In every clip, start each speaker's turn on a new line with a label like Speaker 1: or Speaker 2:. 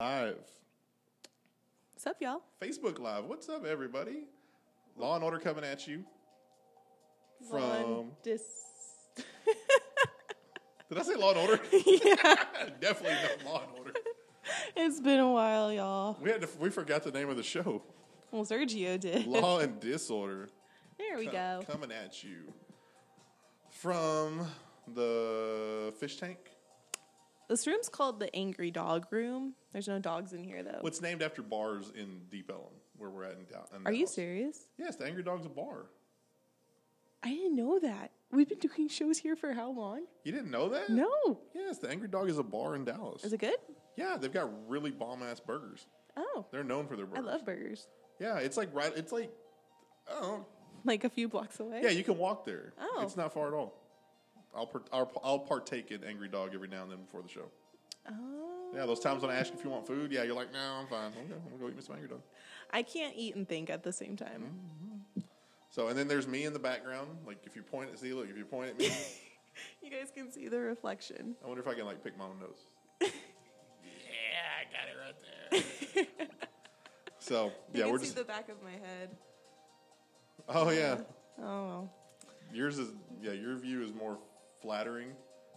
Speaker 1: Live.
Speaker 2: What's up, y'all?
Speaker 1: Facebook Live. What's up, everybody? Law and Order coming at you. From.
Speaker 2: Lawn dis.
Speaker 1: Did I say Law and Order?
Speaker 2: yeah,
Speaker 1: Definitely not Law and Order.
Speaker 2: it's been a while, y'all.
Speaker 1: We had to, we forgot the name of the show.
Speaker 2: Well, Sergio did.
Speaker 1: Law and Disorder.
Speaker 2: there we
Speaker 1: Co-
Speaker 2: go.
Speaker 1: Coming at you from the fish tank.
Speaker 2: This room's called the Angry Dog Room. There's no dogs in here though.
Speaker 1: What's named after bars in Deep Ellum, where we're at in, Dal- in
Speaker 2: Are you
Speaker 1: Dallas.
Speaker 2: serious?
Speaker 1: Yes, the Angry Dog's a bar.
Speaker 2: I didn't know that. We've been doing shows here for how long?
Speaker 1: You didn't know that?
Speaker 2: No.
Speaker 1: Yes, the Angry Dog is a bar in Dallas.
Speaker 2: Is it good?
Speaker 1: Yeah, they've got really bomb ass burgers.
Speaker 2: Oh,
Speaker 1: They're known for their burgers.
Speaker 2: I love burgers.
Speaker 1: Yeah, it's like right. It's like, oh,
Speaker 2: Like a few blocks away.
Speaker 1: yeah, you can walk there.
Speaker 2: Oh.
Speaker 1: it's not far at all. I'll, per- I'll I'll partake in Angry Dog every now and then before the show.
Speaker 2: Oh.
Speaker 1: Yeah, those times when I ask you if you want food, yeah, you're like, no, I'm fine. Okay, I'm gonna go eat me some Angry Dog.
Speaker 2: I can't eat and think at the same
Speaker 1: Mm-hmm.
Speaker 2: time.
Speaker 1: So, and then there's me in the background. Like, if you point at see, look, if you point at me,
Speaker 2: You guys can see the reflection.
Speaker 1: I wonder if I can like pick my own nose. yeah, I got it right there. so
Speaker 2: You
Speaker 1: yeah,
Speaker 2: can
Speaker 1: we're
Speaker 2: see
Speaker 1: just.
Speaker 2: the back of my head.
Speaker 1: oh yeah,
Speaker 2: Oh, well.
Speaker 1: yours is yeah. Your view is more flattering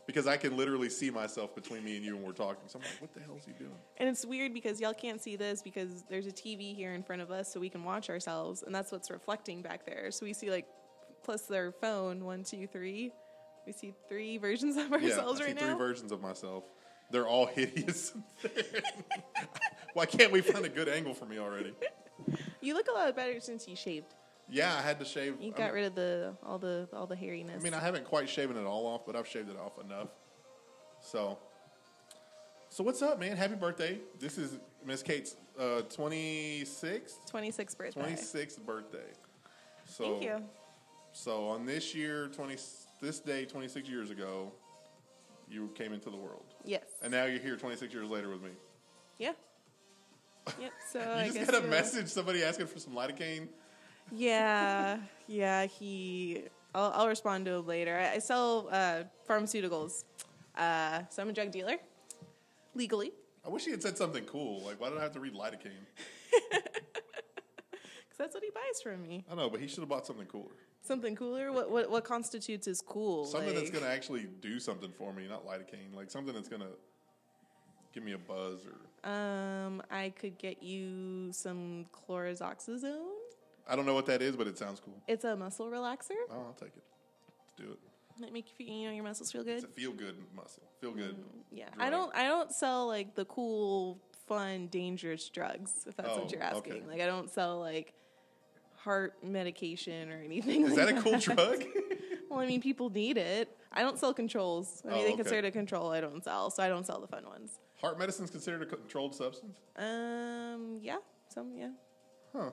Speaker 1: because I can literally see myself between me and you when we're talking. So I'm like, what the hell is he doing?
Speaker 2: And it's weird because y'all can't see this because there's a TV here in front of us so we can watch ourselves, and that's what's reflecting back there. So we see, like, plus their phone one, two, three. We see three versions of
Speaker 1: Yeah,
Speaker 2: ourselves
Speaker 1: I see
Speaker 2: right
Speaker 1: three
Speaker 2: now.
Speaker 1: versions of myself. They're all hideous. Why can't we find a good angle for me already?
Speaker 2: you look a lot better since you shaved.
Speaker 1: Yeah, I had to shave.
Speaker 2: You
Speaker 1: I
Speaker 2: got
Speaker 1: mean-
Speaker 2: rid of the all the all the hairiness.
Speaker 1: Um, I mean, I haven't quite shaven it all off, but I've shaved it off enough. So, so what's up, man? Happy birthday! This is Miss Kate's uh, 26th,
Speaker 2: 26 birthday.
Speaker 1: 26th birthday. So,
Speaker 2: Thank you.
Speaker 1: So on this year, 20 this day, 26 years ago, you came into the world,
Speaker 2: Yes.
Speaker 1: and now you're here 26 years later with me.
Speaker 2: yeah. Yep. So
Speaker 1: You
Speaker 2: Oh, I
Speaker 1: just
Speaker 2: guess
Speaker 1: got a
Speaker 2: you're-
Speaker 1: message somebody asking for some lidocaine.
Speaker 2: Yeah, yeah. He, I'll, I'll respond to him later. I, I sell uh, pharmaceuticals, uh, so I'm a drug dealer legally
Speaker 1: I wish he had said something cool. Like, why did I have to read lidocaine?
Speaker 2: because that's what he buys from me.
Speaker 1: I don't know, but he should have bought something cooler.
Speaker 2: Something cooler. What what what constitutes as cool?
Speaker 1: Something that's
Speaker 2: Like,
Speaker 1: gonna actually do something for me, not lidocaine. Like something that's gonna give me a buzz or
Speaker 2: Um, I could get you some chlorzoxazone.
Speaker 1: I don't know what that is, but it sounds cool.
Speaker 2: It's a muscle relaxer.
Speaker 1: Oh, I'll take it. Let's do it.
Speaker 2: That make you feel, you know your muscles feel
Speaker 1: It's
Speaker 2: good. Mm.
Speaker 1: a feel good muscle. Feel good.
Speaker 2: Yeah,
Speaker 1: drug.
Speaker 2: I don't I don't sell like the cool, fun, dangerous drugs. If that's
Speaker 1: Oh,
Speaker 2: what you're asking,
Speaker 1: okay.
Speaker 2: like I don't sell like heart medication or anything.
Speaker 1: Is
Speaker 2: like
Speaker 1: that a cool drug?
Speaker 2: Well, I mean, people need it. I don't sell controls.
Speaker 1: Oh,
Speaker 2: Anything
Speaker 1: okay.
Speaker 2: considered a control, I don't sell. So I don't sell the fun ones.
Speaker 1: Heart medicine's considered a controlled substance?
Speaker 2: Um, yeah, some yeah.
Speaker 1: Huh.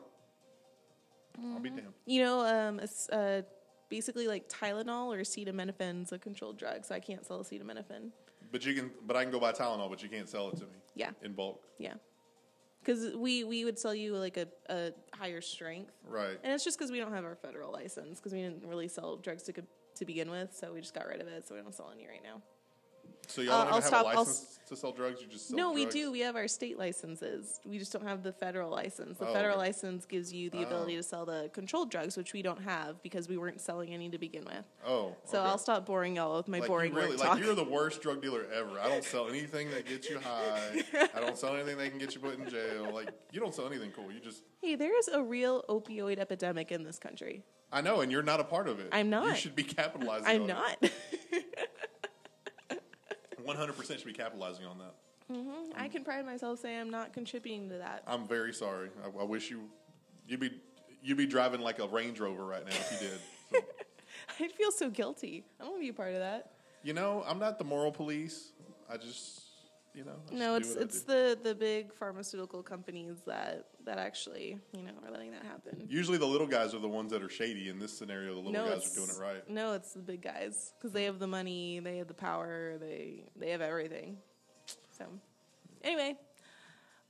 Speaker 1: I'll be damned.
Speaker 2: You know, um, it's, uh, basically like Tylenol or acetaminophen's a controlled drug, so I can't sell acetaminophen.
Speaker 1: But you can but I can go buy Tylenol, but you can't sell it to me.
Speaker 2: Yeah.
Speaker 1: In bulk.
Speaker 2: Yeah. Because we, we would sell you like a, a higher strength.
Speaker 1: Right.
Speaker 2: And it's just because we don't have our federal license because we didn't really sell drugs to, co- to begin with, so we just got rid of it. So we don't sell any right now.
Speaker 1: So y'all
Speaker 2: Uh, I'll-
Speaker 1: don't even
Speaker 2: I'll
Speaker 1: have
Speaker 2: stop-
Speaker 1: a
Speaker 2: I'll
Speaker 1: license to sell drugs, you just sell
Speaker 2: no, we
Speaker 1: drugs?
Speaker 2: do. We have our state licenses. We just don't have the federal license. The
Speaker 1: Oh,
Speaker 2: federal
Speaker 1: okay. Oh.
Speaker 2: license gives you the ability to sell the controlled drugs, which we don't have because we weren't selling any to begin with.
Speaker 1: Oh.
Speaker 2: So
Speaker 1: okay.
Speaker 2: I'll stop boring y'all with my
Speaker 1: Like, you
Speaker 2: boring
Speaker 1: really,
Speaker 2: work
Speaker 1: like
Speaker 2: talk.
Speaker 1: you're the worst drug dealer ever. I don't sell anything that gets you high. I don't sell anything that can get you put in jail. Like you don't sell anything cool. You just
Speaker 2: hey, there is a real opioid epidemic in this country.
Speaker 1: I know, and you're not a part of it.
Speaker 2: I'm
Speaker 1: You
Speaker 2: not.
Speaker 1: should be capitalizing.
Speaker 2: I'm
Speaker 1: on
Speaker 2: not.
Speaker 1: One hundred percent should be capitalizing on that.
Speaker 2: Mm-hmm. I can pride myself saying I'm not contributing to that.
Speaker 1: I'm very sorry. I, I wish you you'd be you'd be driving like a Range Rover right now if you did. So,
Speaker 2: I'd feel so guilty. I don't want to be a part of that.
Speaker 1: you know, I'm not the moral police. I just you know. I just
Speaker 2: No,
Speaker 1: do
Speaker 2: it's
Speaker 1: what I
Speaker 2: it's
Speaker 1: do.
Speaker 2: the, the big pharmaceutical companies that, that actually, you know, are letting that happen.
Speaker 1: Usually the little guys are the ones that are shady. In this scenario, the little guys are doing it right.
Speaker 2: No, it's the big guys because they have the money, they have the power, they they have everything. So, anyway,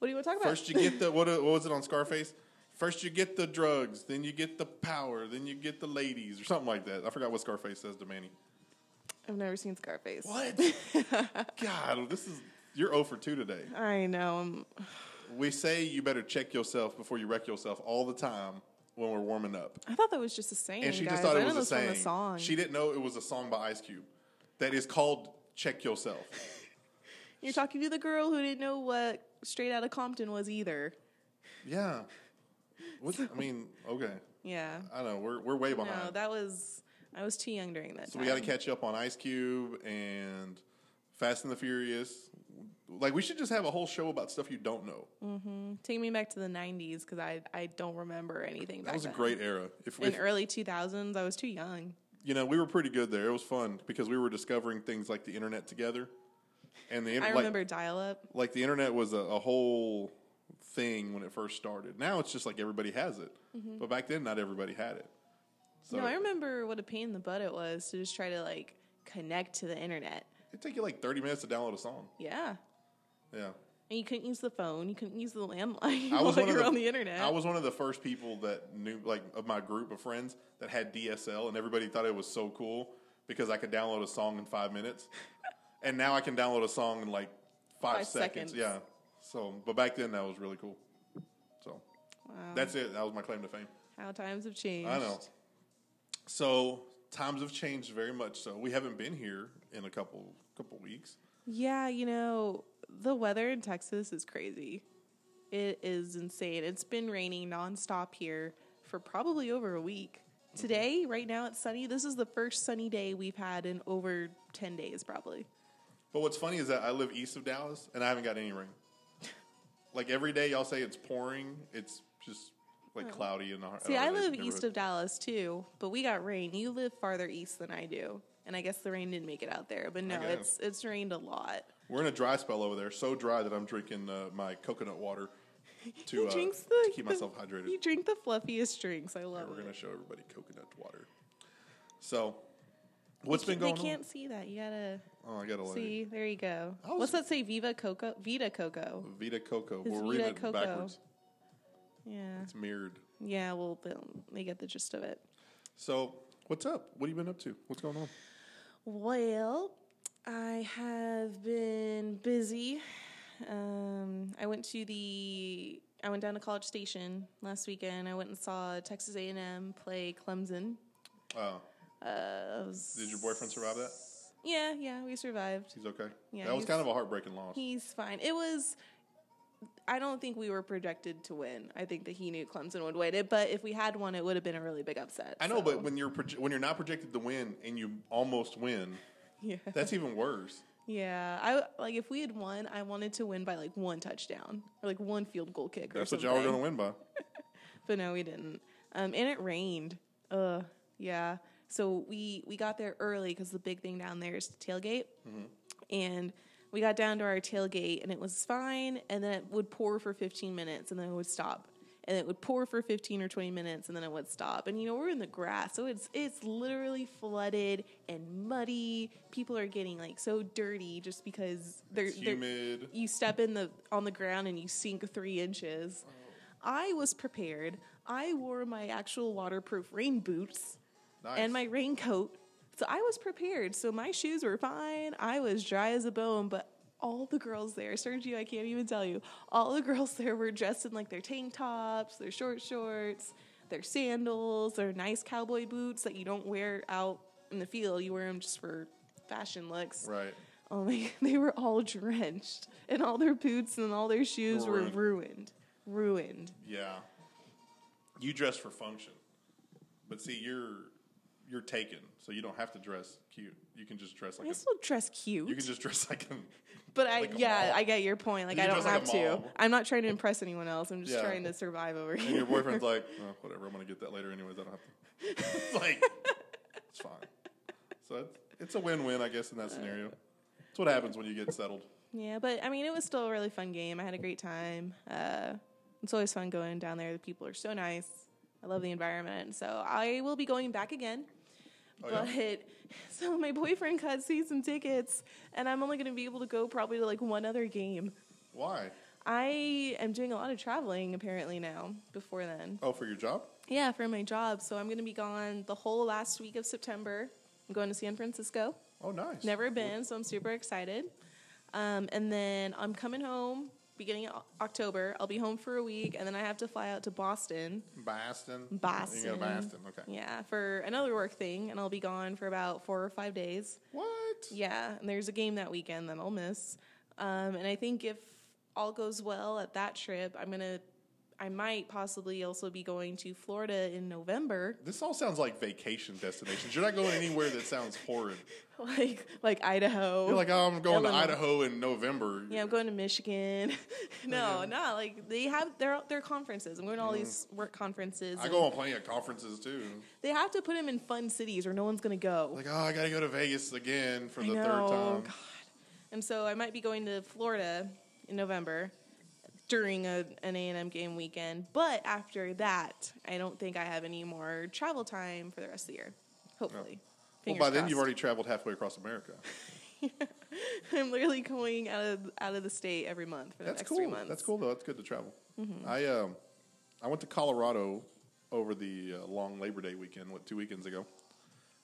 Speaker 2: what do you want to talk about?
Speaker 1: First you get the what, what was it on Scarface? First you get the drugs, then you get the power, then you get the ladies or something like that. I forgot what Scarface says to Manny.
Speaker 2: I've never seen Scarface.
Speaker 1: What? God, this is You're 0 for 2 today.
Speaker 2: I know. um, I'm-
Speaker 1: We say you better check yourself before you wreck yourself all the time when we're warming up.
Speaker 2: I thought that was just a saying.
Speaker 1: And she
Speaker 2: guys.
Speaker 1: just thought
Speaker 2: I
Speaker 1: it
Speaker 2: didn't
Speaker 1: was a
Speaker 2: know this
Speaker 1: saying.
Speaker 2: From a song.
Speaker 1: She didn't know it was a song by Ice Cube that is called Check Yourself.
Speaker 2: You're talking to the girl who didn't know what Straight Outta Compton was either.
Speaker 1: yeah. What, I mean, okay.
Speaker 2: Yeah.
Speaker 1: I don't know. We're, we're way behind.
Speaker 2: No, that was I was too young during that
Speaker 1: So
Speaker 2: time.
Speaker 1: we got to catch up on Ice Cube and Fast and the Furious. Like we should just have a whole show about stuff you don't know.
Speaker 2: Mm, Take me back to the '90s because I I don't remember anything.
Speaker 1: That
Speaker 2: back
Speaker 1: was a
Speaker 2: then.
Speaker 1: great era. If,
Speaker 2: In er-
Speaker 1: if
Speaker 2: early 2000s, I was too young.
Speaker 1: you know, we were pretty good there. It was fun because we were discovering things like the internet together, and the
Speaker 2: I
Speaker 1: internet like,
Speaker 2: remember dial-up.
Speaker 1: like the internet was a, a whole thing when it first started. Now it's just like everybody has it, but back then not everybody had it. So
Speaker 2: Mm-hmm. no, I remember what a pain in the butt it was to just try to like connect to the internet.
Speaker 1: it took you like thirty minutes to download a song.
Speaker 2: Yeah.
Speaker 1: Yeah,
Speaker 2: And you couldn't use the phone. You couldn't use the landline
Speaker 1: I was
Speaker 2: while
Speaker 1: one of
Speaker 2: you were
Speaker 1: the-
Speaker 2: on the internet.
Speaker 1: I was one of the first people that knew, like, of my group of friends that had DSL, and everybody thought it was so cool because I could download a song in five minutes, and now I can download a song in like five,
Speaker 2: Five
Speaker 1: seconds.
Speaker 2: seconds.
Speaker 1: Yeah. So, but back then that was really cool. So
Speaker 2: wow.
Speaker 1: that's it. That was my claim to fame.
Speaker 2: How times have changed.
Speaker 1: I know. So times have changed very much. So we haven't been here in a couple couple weeks.
Speaker 2: Yeah, you know, the weather in Texas is crazy. It is insane. It's been raining nonstop here for probably over a week.
Speaker 1: Mm-hmm.
Speaker 2: Today, right now, it's sunny. This is the first sunny day we've had in over 10 days, probably.
Speaker 1: But what's funny is that I live east of Dallas and I haven't got any rain. like every day, y'all say it's pouring. It's just like cloudy and
Speaker 2: Hmm. See, I live east of Dallas too, but we got rain. You live farther east than I do. And I guess the rain didn't make it out there, but no,
Speaker 1: guess.
Speaker 2: it's it's rained a lot.
Speaker 1: We're in a dry spell over there, so dry that I'm drinking uh, my coconut water to,
Speaker 2: He
Speaker 1: uh,
Speaker 2: drinks
Speaker 1: to
Speaker 2: the-
Speaker 1: keep myself hydrated.
Speaker 2: You drink the fluffiest drinks. I love
Speaker 1: We're
Speaker 2: it.
Speaker 1: gonna show everybody coconut water. So, what's been
Speaker 2: they
Speaker 1: going
Speaker 2: can't see that. You gotta
Speaker 1: on? Oh, I gotta let
Speaker 2: See, there you go.
Speaker 1: I was-
Speaker 2: What's that say? Viva Coco, Vita Coco.
Speaker 1: Vita Coco.
Speaker 2: It's
Speaker 1: We're reading
Speaker 2: Vita
Speaker 1: it
Speaker 2: Coco.
Speaker 1: backwards.
Speaker 2: Yeah,
Speaker 1: It's mirrored.
Speaker 2: yeah. Well, they'll- they get the gist of it.
Speaker 1: So, what's up? What have you been up to? What's going on?
Speaker 2: Well, I have been busy. Um, I went to the. I went down to College Station last weekend. I went and saw Texas A and M play Clemson.
Speaker 1: Uh,
Speaker 2: Uh, it was-
Speaker 1: did your boyfriend survive that?
Speaker 2: Yeah, yeah, we survived.
Speaker 1: He's okay.
Speaker 2: Yeah,
Speaker 1: that was
Speaker 2: he's-
Speaker 1: kind of a heartbreaking loss.
Speaker 2: He's fine. It was. I don't think we were projected to win. I think that he knew Clemson would win it, but if we had won, it would have been a really big upset.
Speaker 1: I know,
Speaker 2: so-
Speaker 1: but when you're proje- when you're not projected to win and you almost win,
Speaker 2: yeah,
Speaker 1: that's even worse.
Speaker 2: yeah. I like if we had won, I wanted to win by like one touchdown or like one field goal kick.
Speaker 1: That's
Speaker 2: or
Speaker 1: what
Speaker 2: something.
Speaker 1: y'all were going to win by.
Speaker 2: But no, we didn't. Um, and it rained. Ugh, yeah. So we we got there early because the big thing down there is the tailgate,
Speaker 1: Mm-hmm.
Speaker 2: and we got down to our tailgate and it was fine. And then it would pour for 15 minutes and then it would stop. And it would pour for 15 or 20 minutes and then it would stop. And you know we're in the grass, so it's it's literally flooded and muddy. People are getting like so dirty just because they're,
Speaker 1: It's
Speaker 2: they're
Speaker 1: humid.
Speaker 2: you step in the on the ground and you sink three inches. I was prepared. I wore my actual waterproof rain boots
Speaker 1: Nice.
Speaker 2: and my raincoat, so I was prepared. So my shoes were fine. I was dry as a bone, but. All the girls there, Sergio, I can't even tell you. All the girls there were dressed in like their tank tops, their short shorts, their sandals, their nice cowboy boots that you don't wear out in the field. You wear them just for fashion looks.
Speaker 1: right.
Speaker 2: Oh my! They were all drenched, and all their boots and all their shoes were
Speaker 1: Ruined.
Speaker 2: ruined. Ruined.
Speaker 1: Yeah. You dress for function. But see, you're you're taken, so you don't have to dress cute. You can just dress like
Speaker 2: I
Speaker 1: a,
Speaker 2: still dress
Speaker 1: you
Speaker 2: cute,
Speaker 1: can just dress like a
Speaker 2: but I
Speaker 1: like a
Speaker 2: yeah,
Speaker 1: mom.
Speaker 2: I get your point. Like
Speaker 1: You
Speaker 2: I
Speaker 1: can
Speaker 2: don't
Speaker 1: dress
Speaker 2: have
Speaker 1: like a
Speaker 2: to.
Speaker 1: mom.
Speaker 2: I'm not trying to impress anyone else. I'm just
Speaker 1: Yeah.
Speaker 2: trying to survive over
Speaker 1: and your
Speaker 2: here.
Speaker 1: boyfriend's like, oh, whatever, I'm gonna get that later anyways, I don't have to like it's fine. So it's, it's a win win, I guess, in that scenario. It's what happens when you get settled.
Speaker 2: yeah, but I mean, it was still a really fun game. I had a great time. Uh, it's always fun going down there. The people are so nice. I love the environment, so I will be going back again.
Speaker 1: Oh, yeah.
Speaker 2: but so my boyfriend got season tickets, and I'm only going to be able to go probably to like one other game.
Speaker 1: Why?
Speaker 2: I am doing a lot of traveling apparently now before then.
Speaker 1: Oh, for your job?
Speaker 2: Yeah, for my job. So I'm going to be gone the whole last week of September. I'm going to San Francisco.
Speaker 1: Oh, nice.
Speaker 2: Never been, so I'm super excited. Um, and then I'm coming home beginning of October. I'll be home for a week, and then I have to fly out to Boston.
Speaker 1: Baston.
Speaker 2: Boston.
Speaker 1: Oh, You go to Baston. Okay.
Speaker 2: Yeah, for another work thing, and I'll be gone for about four or five days.
Speaker 1: What?
Speaker 2: Yeah, and there's a game that weekend that I'll miss. Um, and I think if all goes well at that trip, I'm gonna, I might possibly also be going to Florida in November,
Speaker 1: This all sounds like vacation destinations. You're not going anywhere that sounds horrid.
Speaker 2: like like Idaho.
Speaker 1: You're like, oh, I'm going to
Speaker 2: Illinois.
Speaker 1: Idaho in November.
Speaker 2: yeah, I'm going to Michigan.
Speaker 1: uh,
Speaker 2: no, no, like they have their their conferences. I'm going to all these work conferences.
Speaker 1: Mm. I
Speaker 2: and
Speaker 1: go on plenty of conferences too.
Speaker 2: They have to put them in fun cities, or no one's gonna go.
Speaker 1: Like, oh, I got to go to Vegas again for
Speaker 2: I
Speaker 1: the
Speaker 2: know,
Speaker 1: third
Speaker 2: God.
Speaker 1: time.
Speaker 2: And so I might be going to Florida in November during a, an A&M game weekend. But after that, I don't think I have any more travel time for the rest of the year. Hopefully.
Speaker 1: Well,
Speaker 2: Fingers
Speaker 1: by then you've
Speaker 2: crossed.
Speaker 1: already traveled halfway across America.
Speaker 2: I'm literally going out of out of the state every month for the
Speaker 1: That's
Speaker 2: next three
Speaker 1: cool.
Speaker 2: months.
Speaker 1: That's cool though. That's good to travel. I um, I went to Colorado over the uh, long Labor Day weekend, what two weekends ago.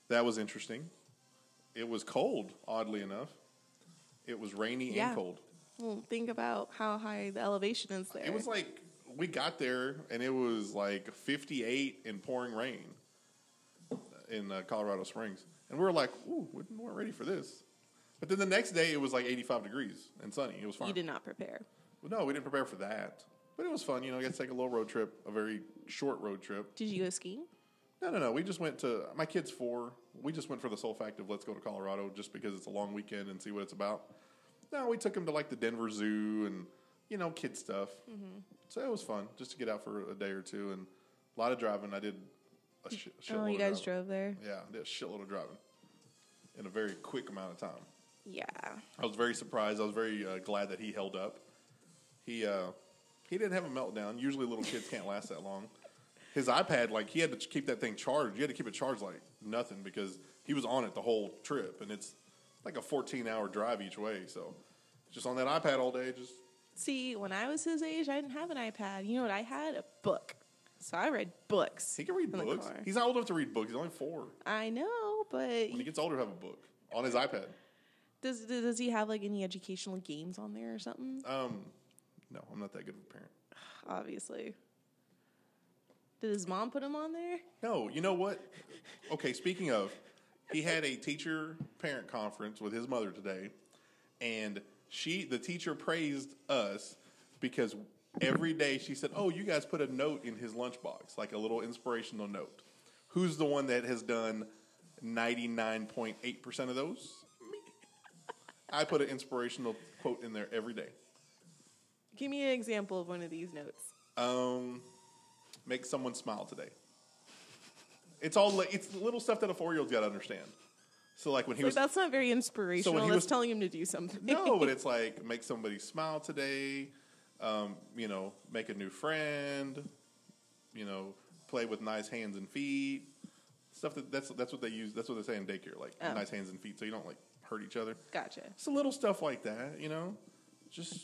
Speaker 1: That was interesting. It was cold, oddly enough. It was rainy
Speaker 2: Yeah.
Speaker 1: and cold.
Speaker 2: Well, think about how high the elevation is there.
Speaker 1: It was like we got there and it was like 58 and pouring rain in uh, Colorado Springs, and we were like, "Ooh, we weren't ready for this." But then the next day it was like 85 degrees and sunny. It was fine.
Speaker 2: you did not prepare.
Speaker 1: Well, no, we didn't prepare for that. But it was fun. You know, I got to take a little road trip, a very short road trip.
Speaker 2: Did you go skiing?
Speaker 1: No, no, no. We just went to, my kid's four. We just went for the sole fact of let's go to Colorado just because it's a long weekend and see what it's about. No, we took him to like the Denver Zoo and, you know, kid stuff.
Speaker 2: Mm-hmm.
Speaker 1: So it was fun just to get out for a day or two and a lot of driving. I did a, sh- a shitload
Speaker 2: Oh, you
Speaker 1: of
Speaker 2: guys
Speaker 1: driving.
Speaker 2: drove there.
Speaker 1: Yeah, I did a shitload of driving in a very quick amount of time.
Speaker 2: Yeah.
Speaker 1: I was very surprised. I was very uh, glad that he held up. He uh, he didn't have a meltdown. Usually, little kids can't last that long. His iPad, like he had to ch- keep that thing charged. You had to keep it charged like nothing because he was on it the whole trip, and it's like a 14-hour drive each way. So, just on that iPad all day. Just
Speaker 2: See, when I was his age, I didn't have an iPad. You know what I had? A book. So I read books.
Speaker 1: he can read
Speaker 2: in the
Speaker 1: books.
Speaker 2: car.
Speaker 1: He's not old enough to read books. He's only four.
Speaker 2: I know, but
Speaker 1: When he gets older, he'll have a book on his iPad.
Speaker 2: does does he have like any educational games on there or something?
Speaker 1: Um, no, I'm not that good of a parent.
Speaker 2: Obviously. Did his mom put him on there?
Speaker 1: No, you know what? Okay, speaking of, he had a teacher parent conference with his mother today, and she the teacher praised us because every day she said, "Oh, you guys put a note in his lunchbox, like a little inspirational note." Who's the one that has done 99.8% of those? Me. I put an inspirational quote in there every day.
Speaker 2: Give me an example of one of these notes.
Speaker 1: Um, make someone smile today. It's all li- it's the little stuff that a four year old's got to understand. So like when he
Speaker 2: Like,
Speaker 1: was
Speaker 2: that's not very inspirational.
Speaker 1: he
Speaker 2: that's
Speaker 1: was-
Speaker 2: telling him to do something.
Speaker 1: no, but it's like make somebody smile today. Um, you know, make a new friend. You know, play with nice hands and feet. Stuff that that's that's what they use. That's what they say in daycare, like
Speaker 2: Oh.
Speaker 1: nice hands and feet, so you don't like hurt each other.
Speaker 2: gotcha.
Speaker 1: It's a little stuff like that, you know. Just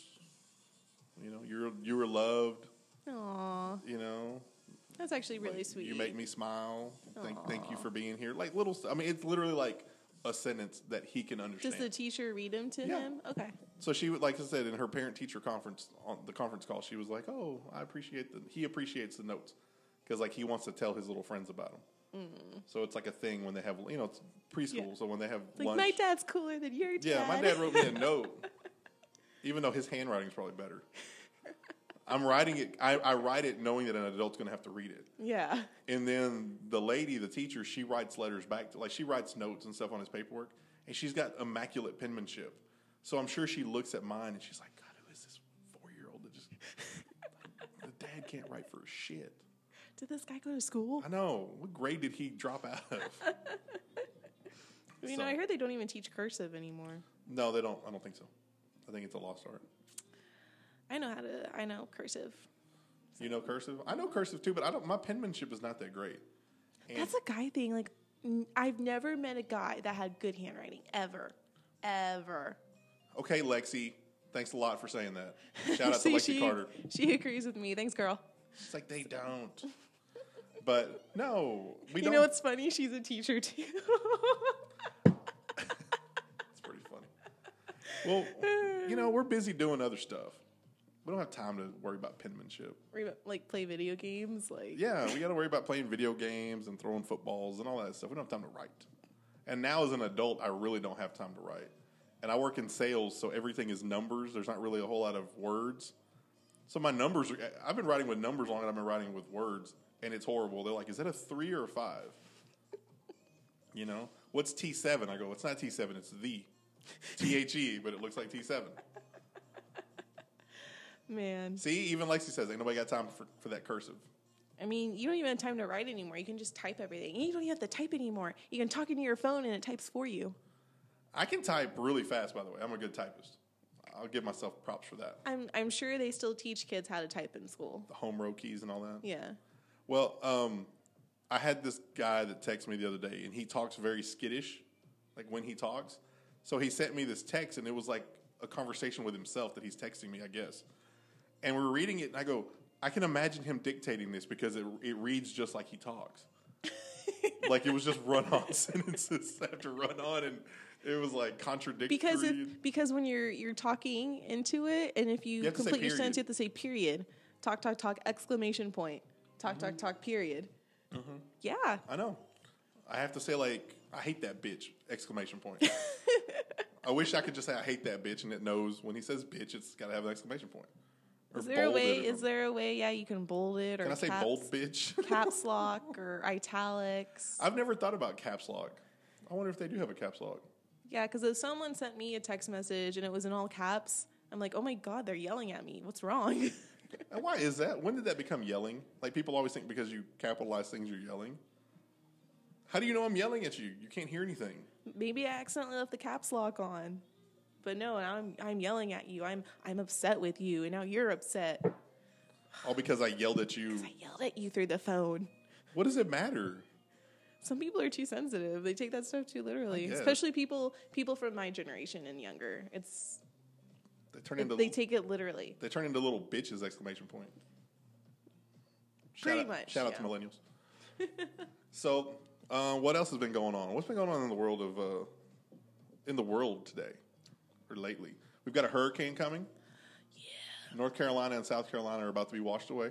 Speaker 1: you know, you're you were loved.
Speaker 2: Aw,
Speaker 1: You know,
Speaker 2: that's actually really
Speaker 1: Like,
Speaker 2: sweet.
Speaker 1: You make me smile. Thank, thank you for being here. Like little. st- I mean, it's literally like a sentence that he can
Speaker 2: Does
Speaker 1: understand.
Speaker 2: the teacher read him to
Speaker 1: Yeah.
Speaker 2: him? Okay.
Speaker 1: so she, would- like I said, in her parent teacher conference on the conference call, she was like, "Oh, I appreciate the. He appreciates the notes because like he wants to tell his little friends about them. So it's like a thing when they have you know it's preschool.
Speaker 2: Mm-hmm. Yeah.
Speaker 1: So when they have
Speaker 2: Like
Speaker 1: lunch,
Speaker 2: my dad's cooler than your dad.
Speaker 1: yeah, my dad wrote me a note, even though his handwriting's probably better. I'm writing it. I, I write it knowing that an adult's going to have to read it.
Speaker 2: yeah.
Speaker 1: And then the lady, the teacher, she writes letters back to like she writes notes and stuff on his paperwork, and she's got immaculate penmanship. So I'm sure she looks at mine and she's like, God, who is this four year old that just the dad can't write for shit.
Speaker 2: Did this guy go to school?
Speaker 1: I know. What grade did he drop out of?
Speaker 2: I mean,
Speaker 1: So-
Speaker 2: I heard they don't even teach cursive anymore.
Speaker 1: no, they don't I don't think so. I think it's a lost art.
Speaker 2: I know how to. I know cursive.
Speaker 1: You know cursive? I know cursive too, but I don't my penmanship is not that great. And
Speaker 2: That's a guy thing. Like, n- I've never met a guy that had good handwriting ever, ever.
Speaker 1: okay, Lexi, thanks a lot for saying that. Shout out to
Speaker 2: See,
Speaker 1: Lexi
Speaker 2: she,
Speaker 1: Carter.
Speaker 2: She agrees with me. Thanks, girl.
Speaker 1: She's like, they don't. But no, we
Speaker 2: you
Speaker 1: don't.
Speaker 2: know what's funny? She's a teacher too.
Speaker 1: it's pretty funny. Well, you know, we're busy doing other stuff. We don't have time to worry about penmanship.
Speaker 2: Re- like play video games. Like
Speaker 1: Yeah, we got to worry about playing video games and throwing footballs and all that stuff. We don't have time to write. And now, as an adult, I really don't have time to write. And I work in sales, so everything is numbers. There's not really a whole lot of words. So my numbers, are, I've been writing with numbers longer than I've been writing with words, and it's horrible. They're like, is that a three or a five? You know, what's T7? I go, it's not T7, it's the T H E, but it looks like T7.
Speaker 2: man.
Speaker 1: See, even Lexi says, ain't nobody got time for, for that cursive.
Speaker 2: I mean, you don't even have time to write anymore. You can just type everything. You don't even have to type anymore. You can talk into your phone and it types for you.
Speaker 1: I can type really fast, by the way. I'm a good typist. I'll give myself props for that.
Speaker 2: I'm I'm sure they still teach kids how to type in school.
Speaker 1: The home row keys and all that.
Speaker 2: Yeah.
Speaker 1: Well, um, I had this guy that texted me the other day, and he talks very skittish, like when he talks. So he sent me this text, and it was like a conversation with himself that he's texting me, I guess. And we we're reading it, and I go, I can imagine him dictating this because it, it reads just like he talks. like it was just run on sentences after run on, and it was like contradictory.
Speaker 2: Because
Speaker 1: and-
Speaker 2: if, because when you're you're talking into it and if you,
Speaker 1: You have to say
Speaker 2: complete your
Speaker 1: period.
Speaker 2: sentence you have to say period. Talk talk talk exclamation point. Talk
Speaker 1: Mm-hmm.
Speaker 2: talk talk period. Yeah.
Speaker 1: I know. I have to say like I hate that bitch exclamation point. I wish I could just say I hate that bitch and it knows when he says bitch it's got to have an exclamation point. Or
Speaker 2: Is there a
Speaker 1: bold
Speaker 2: way?
Speaker 1: it or
Speaker 2: Is
Speaker 1: something.
Speaker 2: there a way? Yeah, you can bold it or
Speaker 1: Can I say
Speaker 2: caps,
Speaker 1: bold bitch?
Speaker 2: caps lock or italics.
Speaker 1: I've never thought about caps lock. I wonder if they do have a caps lock.
Speaker 2: Yeah, because if someone sent me a text message and it was in all caps, I'm like, oh my god, they're yelling at me. What's wrong?
Speaker 1: And why is that? When did that become yelling? Like people always think because you capitalize things you're yelling. How do you know I'm yelling at you? You can't hear anything.
Speaker 2: Maybe I accidentally left the caps lock on. But no, and I'm I'm yelling at you. I'm I'm upset with you, and now you're upset.
Speaker 1: All because I yelled at you.
Speaker 2: I yelled at you through the phone.
Speaker 1: What does it matter?
Speaker 2: Some people are too sensitive. They take that stuff too literally,
Speaker 1: guess.
Speaker 2: especially people people from my generation and younger. It's
Speaker 1: They turn into
Speaker 2: they take it literally.
Speaker 1: They turn into little bitches! Exclamation point. Shout
Speaker 2: Pretty
Speaker 1: out-
Speaker 2: much,
Speaker 1: Shout out
Speaker 2: yeah.
Speaker 1: to millennials. so, uh, what else has been going on? What's been going on in the world of uh, in the world today or lately? We've got a hurricane coming. Yeah. North Carolina and South Carolina are about to be washed away.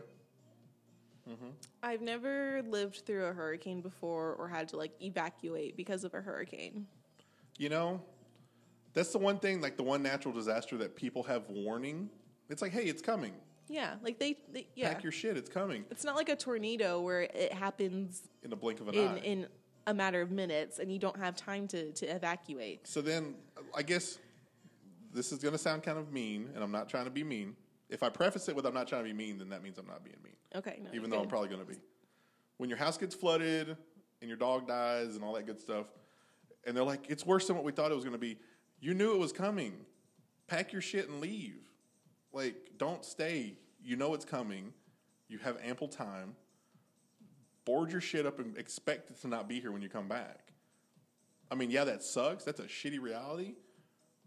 Speaker 2: I've never lived through a hurricane before or had to like evacuate because of a hurricane.
Speaker 1: You know, that's the one thing, like the one natural disaster that people have warning. It's like, hey, it's coming.
Speaker 2: Yeah, like they, they yeah.
Speaker 1: Pack your shit. It's coming
Speaker 2: it's not like a tornado where it happens
Speaker 1: in the blink of an
Speaker 2: in
Speaker 1: eye.
Speaker 2: in a matter of minutes and you don't have time to to evacuate.
Speaker 1: So then, I guess this is going to sound kind of mean, and I'm not trying to be mean. If I preface it with "I'm not trying to be mean," then that means I'm not being mean,
Speaker 2: Okay, no,
Speaker 1: even
Speaker 2: you're
Speaker 1: though I'm
Speaker 2: good.
Speaker 1: probably going to be. When your house gets flooded and your dog dies and all that good stuff, and they're like, "It's worse than what we thought it was going to be," you knew it was coming. Pack your shit and leave. Like, don't stay. You know it's coming. You have ample time. Board your shit up and expect it to not be here when you come back. I mean, yeah, that sucks. That's a shitty reality.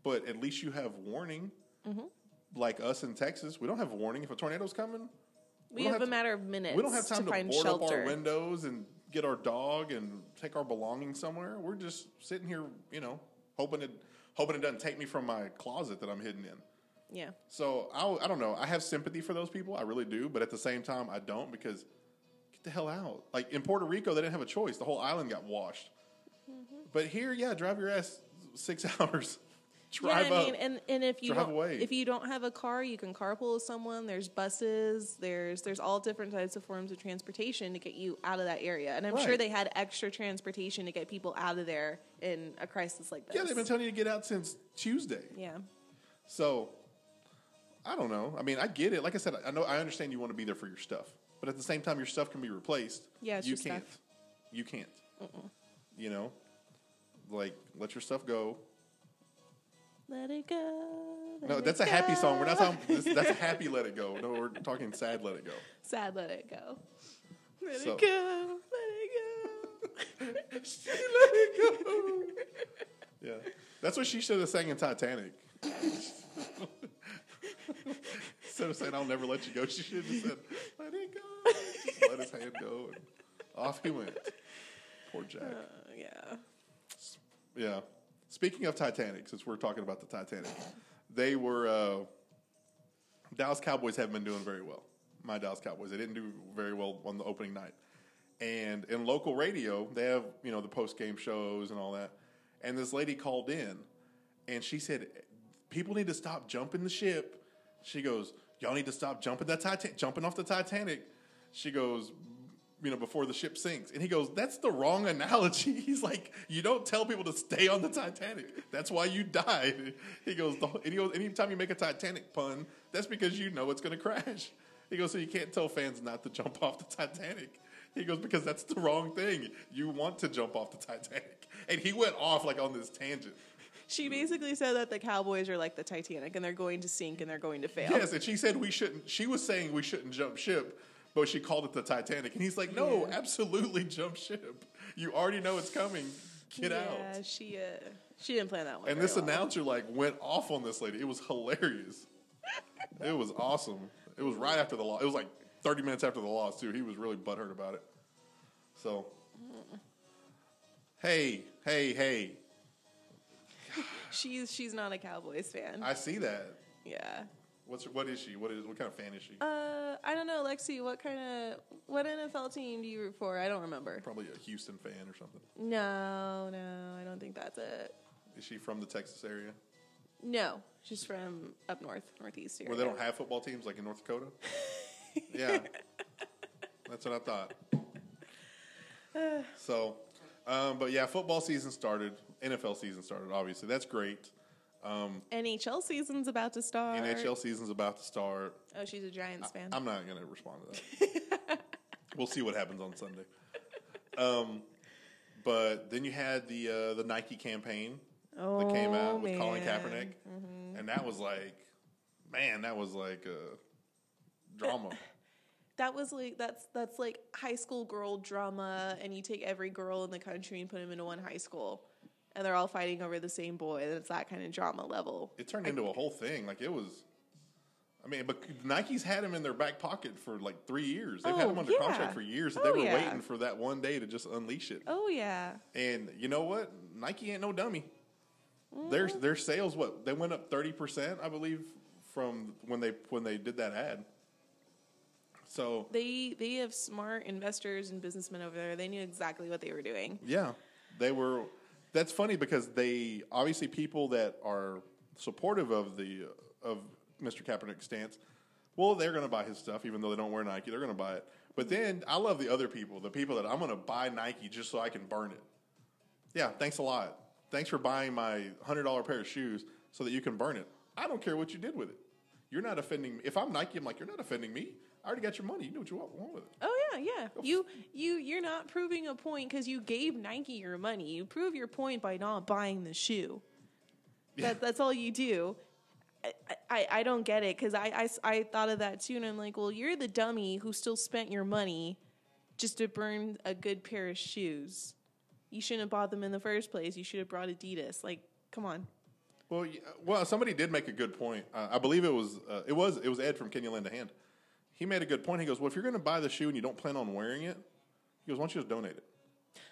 Speaker 1: But at least you have warning.
Speaker 2: Mm-hmm.
Speaker 1: Like us in Texas, we don't have warning. If a tornado's coming,
Speaker 2: we,
Speaker 1: don't
Speaker 2: have,
Speaker 1: have
Speaker 2: a matter of minutes.
Speaker 1: we don't have time to,
Speaker 2: to find
Speaker 1: board up
Speaker 2: shelter.
Speaker 1: our windows and get our dog and take our belongings somewhere. We're just sitting here, you know, hoping it hoping it doesn't take me from my closet that I'm hidden in.
Speaker 2: yeah,
Speaker 1: So I, I don't know. I have sympathy for those people. I really do. But at the same time, I don't because get the hell out. Like in Puerto Rico, they didn't have a choice. The whole island got washed.
Speaker 2: Mm-hmm.
Speaker 1: But here, yeah, drive your ass six hours. Drive
Speaker 2: yeah. I
Speaker 1: up.
Speaker 2: mean, and and if you
Speaker 1: Drive
Speaker 2: don't,
Speaker 1: away.
Speaker 2: if you don't have a car, you can carpool with someone. There's buses. There's there's all different types of forms of transportation to get you out of that area. And I'm sure
Speaker 1: Right.
Speaker 2: they had extra transportation to get people out of there in a crisis like this.
Speaker 1: yeah, they've been telling you to get out since Tuesday.
Speaker 2: yeah.
Speaker 1: So I don't know. I mean, I get it. Like I said, I know I understand you want to be there for your stuff, but at the same time, your stuff can be replaced.
Speaker 2: Yeah, it's
Speaker 1: you
Speaker 2: your stuff.
Speaker 1: can't. You can't. You know, like let your stuff go.
Speaker 2: Let it go. let
Speaker 1: No,
Speaker 2: it
Speaker 1: that's a happy
Speaker 2: go.
Speaker 1: song. We're not talking. This, that's a happy "Let It Go." No, we're talking sad "Let It Go."
Speaker 2: Sad, let it go. Let
Speaker 1: So-
Speaker 2: it go. Let it go. she let it go.
Speaker 1: Yeah, that's what she should have sang in Titanic. Instead of saying "I'll never let you go," she should have just said "Let It Go." Just let his hand go, and
Speaker 2: Oh,
Speaker 1: off he went. Poor Jack.
Speaker 2: Uh, yeah.
Speaker 1: Yeah. Speaking of Titanic, since we're talking about the Titanic, they were uh, Dallas Cowboys haven't been doing very well. My Dallas Cowboys, they didn't do very well on the opening night. And in local radio, they have you know the post game shows and all that. And this lady called in, and she said, "People need to stop jumping the ship." She goes, "Y'all need to stop jumping that Titan- jumping off the Titanic." She goes, you know, before the ship sinks. And he goes, That's the wrong analogy. He's like, You don't tell people to stay on the Titanic. That's why you died. He goes, "The- and he goes, Anytime you make a Titanic pun, that's because you know it's going to crash. He goes, So you can't tell fans not to jump off the Titanic. He goes, Because that's the wrong thing. You want to jump off the Titanic. And he went off like on this tangent.
Speaker 2: She basically said that the Cowboys are like the Titanic and they're going to sink and they're going to fail.
Speaker 1: Yes, and she said we shouldn't. She was saying we shouldn't jump ship, but she called it the Titanic, and he's like, "No,
Speaker 2: Yeah.
Speaker 1: absolutely jump ship. You already know it's coming. Get
Speaker 2: yeah,
Speaker 1: out."
Speaker 2: she uh, she didn't plan that one.
Speaker 1: And
Speaker 2: very
Speaker 1: this
Speaker 2: well.
Speaker 1: announcer like went off on this lady. It was hilarious. it was awesome. It was right after the loss. It was like thirty minutes after the loss too. He was really butthurt about it. So, hey, hey, hey!
Speaker 2: she's she's not a Cowboys fan.
Speaker 1: I see that.
Speaker 2: yeah.
Speaker 1: What's what is she? What is what kind of fan is she?
Speaker 2: Uh, I don't know, Lexi. What kind of what NFL team do you root for? I don't remember.
Speaker 1: Probably a Houston fan or something.
Speaker 2: No, no, I don't think that's it.
Speaker 1: Is she from the Texas area?
Speaker 2: No, she's from up north, northeast area.
Speaker 1: Where they don't have football teams like in North Dakota? yeah. That's what I thought. So, um, but yeah, football season started. NFL season started, obviously. That's great.
Speaker 2: NHL season's about to start.
Speaker 1: NHL season's about to start.
Speaker 2: Oh, she's a Giants fan.
Speaker 1: I'm not going to respond to that. we'll see what happens on Sunday. Um, but then you had the uh, the Nike campaign that came out
Speaker 2: Oh,
Speaker 1: with Colin
Speaker 2: man. Mm-hmm.
Speaker 1: Kaepernick, and that was like, man, that was like a drama.
Speaker 2: That was like that's that's like high school girl drama, and you take every girl in the country and put them into one high school, and they're all fighting over the same boy. And it's that kind of drama level.
Speaker 1: it turned into a whole thing. Like it was, I mean, but Nike's had him in their back pocket for like three years. They've had
Speaker 2: Oh,
Speaker 1: him under
Speaker 2: yeah.
Speaker 1: contract for years. that
Speaker 2: Oh,
Speaker 1: they were
Speaker 2: yeah.
Speaker 1: waiting for that one day to just unleash it.
Speaker 2: Oh yeah,
Speaker 1: And you know what? Nike ain't no dummy. Their
Speaker 2: Mm-hmm.
Speaker 1: their sales what they went up thirty percent, I believe, from when they when they did that ad. So
Speaker 2: they they have smart investors and businessmen over there. They knew exactly what they were doing.
Speaker 1: Yeah, they were. That's funny because they obviously people that are supportive of the of Mr. Kaepernick's stance. Well, they're going to buy his stuff, even though they don't wear Nike. They're going to buy it. But then I love the other people, the people that I'm going to buy Nike just so I can burn it. Yeah, thanks a lot. Thanks for buying my hundred dollar pair of shoes so that you can burn it. I don't care what you did with it. You're not offending me. If I'm Nike, I'm like, you're not offending me. I already got your money. You do what you want, want with it.
Speaker 2: Oh yeah, yeah. You you you're not proving a point because you gave Nike your money. You prove your point by not buying the shoe. That, that's all you do. I, I, I don't get it because I, I s- I thought of that too, and I'm like, well, you're the dummy who still spent your money just to burn a good pair of shoes. You shouldn't have bought them in the first place. You should have brought Adidas. Like, come on.
Speaker 1: Well, yeah, well, somebody did make a good point. Uh, I believe it was uh, it was it was Ed from Kenya Lend a Hand. He made a good point. He goes, "Well, if you're going to buy the shoe and you don't plan on wearing it, he goes, why don't you just donate it?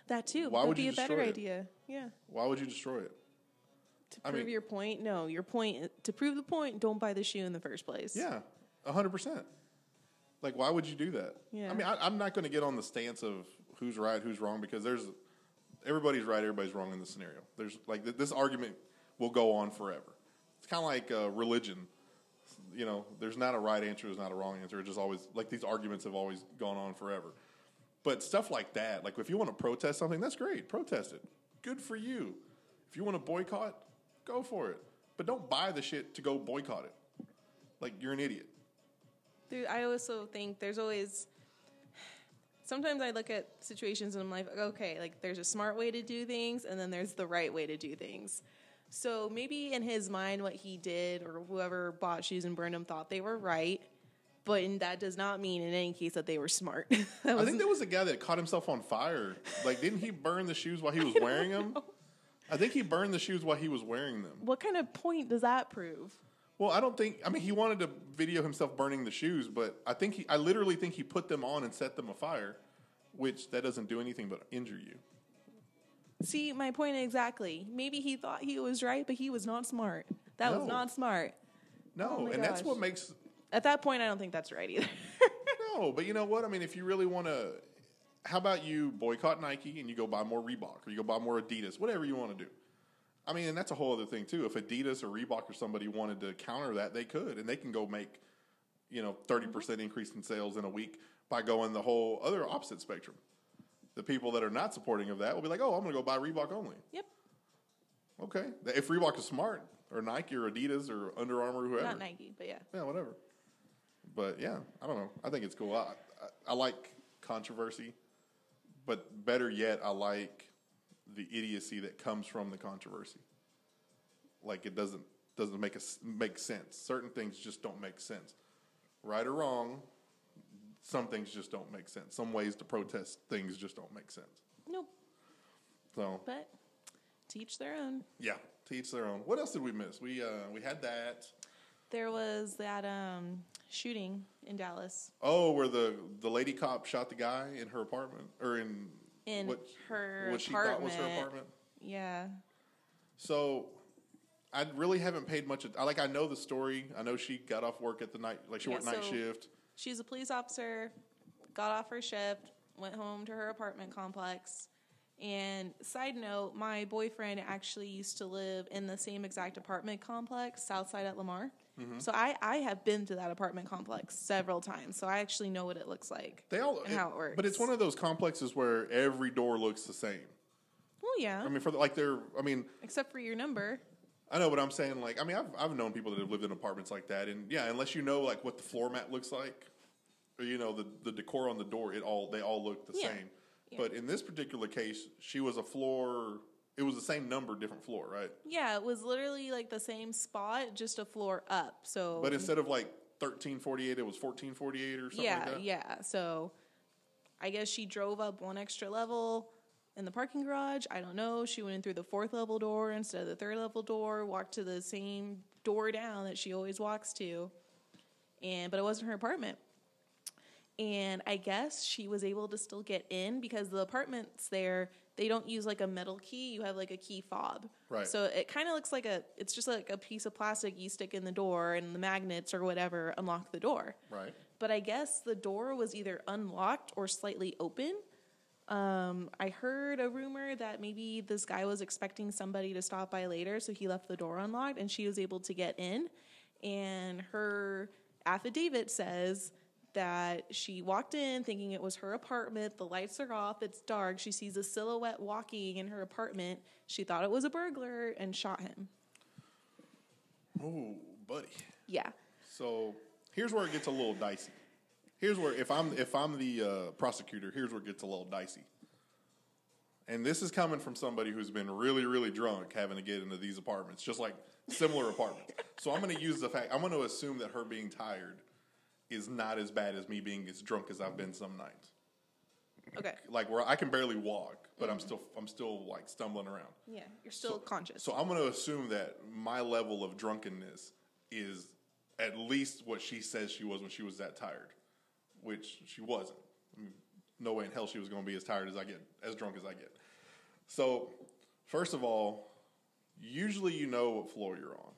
Speaker 2: That too
Speaker 1: Why
Speaker 2: would
Speaker 1: would
Speaker 2: be
Speaker 1: you
Speaker 2: a better
Speaker 1: destroy it?
Speaker 2: idea. Yeah.
Speaker 1: Why would you destroy it?"
Speaker 2: To
Speaker 1: I
Speaker 2: prove
Speaker 1: mean-
Speaker 2: your point, no, your point to prove the point, don't buy the shoe in the first place.
Speaker 1: Yeah, hundred percent. Like, why would you do that?
Speaker 2: Yeah.
Speaker 1: I mean, I, I'm not going to get on the stance of who's right, who's wrong, because there's everybody's right, everybody's wrong in this scenario. There's like th- this argument will go on forever. It's kind of like uh, religion. You know, there's not a right answer, there's not a wrong answer. It's just always like these arguments have always gone on forever. But stuff like that, like if you want to protest something, that's great. Protest it. Good for you. If you want to boycott, go for it. But don't buy the shit to go boycott it. Like you're an idiot.
Speaker 2: There, I also think there's always. Sometimes I look at situations and I'm like, okay, like there's a smart way to do things, and then there's the right way to do things. So maybe in his mind, what he did or whoever bought shoes and burned them thought they were right, but in- that does not mean in any case that they were smart. that
Speaker 1: I
Speaker 2: was
Speaker 1: think there was a guy that caught himself on fire. Like, didn't he burn the shoes while he was wearing them? I think he burned the shoes while he was wearing them.
Speaker 2: what kind of point does that prove?
Speaker 1: Well, I don't think. I mean, he wanted to video himself burning the shoes, but I think he. I literally think he put them on and set them afire, which that doesn't do anything but injure you.
Speaker 2: See, my point exactly. Maybe he thought he was right, but he was not smart. That
Speaker 1: No.
Speaker 2: was not smart.
Speaker 1: No,
Speaker 2: Oh my
Speaker 1: and that's
Speaker 2: gosh.
Speaker 1: what makes
Speaker 2: At that point, I don't think that's right either.
Speaker 1: no. But you know what? I mean, if you really want to, how about you boycott Nike and you go buy more Reebok or you go buy more Adidas, whatever you want to do. I mean, and that's a whole other thing too. If Adidas or Reebok or somebody wanted to counter that, they could, and they can go make you know thirty
Speaker 2: Mm-hmm.
Speaker 1: percent increase in sales in a week by going the whole other opposite spectrum. The people that are not supporting of that will be like, "Oh, I'm going to go buy Reebok only."
Speaker 2: yep,
Speaker 1: Okay, if Reebok is smart, or Nike, or Adidas, or Under Armour, whoever,
Speaker 2: not Nike, but yeah.
Speaker 1: yeah, whatever. But yeah, I don't know. I think it's cool. I, I, I like controversy, but better yet, I like the idiocy that comes from the controversy. Like it doesn't doesn't make us make sense. Certain things just don't make sense. Right or wrong, some things just don't make sense. Some ways to protest things just don't make sense.
Speaker 2: Nope,
Speaker 1: So
Speaker 2: but to each their own.
Speaker 1: yeah, to each their own. What else did we miss? We uh, we had that.
Speaker 2: There was that um, shooting in Dallas
Speaker 1: Oh, where the the lady cop shot the guy in her apartment or in
Speaker 2: in
Speaker 1: what-
Speaker 2: her
Speaker 1: what she
Speaker 2: apartment.
Speaker 1: thought was her apartment.
Speaker 2: Yeah,
Speaker 1: So I really haven't paid much. At, I like I know the story. I know she got off work at the night, like she
Speaker 2: Yeah,
Speaker 1: worked night
Speaker 2: so-
Speaker 1: shift.
Speaker 2: she's a police officer. Got off her shift, went home to her apartment complex. And side note, my boyfriend actually used to live in the same exact apartment complex, Southside at Lamar.
Speaker 1: Mm-hmm.
Speaker 2: So I, I have been to that apartment complex several times. So I actually know what it looks like.
Speaker 1: They all
Speaker 2: and how it works.
Speaker 1: but it's one of those complexes where every door looks the same.
Speaker 2: Well, yeah,
Speaker 1: I mean, for the, like they're. I mean,
Speaker 2: except for your number.
Speaker 1: I know, but I'm saying like I mean I've I've known people that have lived in apartments like that, and yeah, unless you know like what the floor mat looks like, or you know the the decor on the door, it all they all look the
Speaker 2: Yeah.
Speaker 1: same.
Speaker 2: Yeah.
Speaker 1: But in this particular case, she was a floor. It was the same number, different floor, right?
Speaker 2: Yeah, it was literally like the same spot, just a floor up. So
Speaker 1: But instead of like thirteen forty eight, it was fourteen forty eight or something
Speaker 2: yeah,
Speaker 1: like that.
Speaker 2: yeah. So I guess she drove up one extra level in the parking garage. I don't know. She went in through the fourth level door instead of the third level door, walked to the same door down that she always walks to. And but it wasn't her apartment. And I guess she was able to still get in because the apartments there, they don't use like a metal key. You have like a key fob.
Speaker 1: Right.
Speaker 2: So it kind of looks like a, it's just like a piece of plastic you stick in the door and the magnets or whatever unlock the door
Speaker 1: Right.
Speaker 2: but I guess the door was either unlocked or slightly open. Um, I heard a rumor that maybe this guy was expecting somebody to stop by later, so he left the door unlocked and she was able to get in. And her affidavit says that she walked in thinking it was her apartment. The lights are off, it's dark. She sees a silhouette walking in her apartment. She thought it was a burglar and shot him.
Speaker 1: Oh, buddy.
Speaker 2: Yeah.
Speaker 1: So here's where it gets a little dicey. Here's where if I'm if I'm the uh, prosecutor, here's where it gets a little dicey. And this is coming from somebody who's been really, really drunk having to get into these apartments, just like similar apartments. So I'm going to use the fact, I'm going to assume that her being tired is not as bad as me being as drunk as I've been some nights.
Speaker 2: Okay.
Speaker 1: Like where I can barely walk, but I'm still, I'm still like stumbling around.
Speaker 2: Yeah. You're still conscious.
Speaker 1: So I'm going to assume that my level of drunkenness is at least what she says she was when she was that tired, which she wasn't. I mean, no way in hell she was going to be as tired as I get, as drunk as I get. So, first of all, usually you know what floor you're on.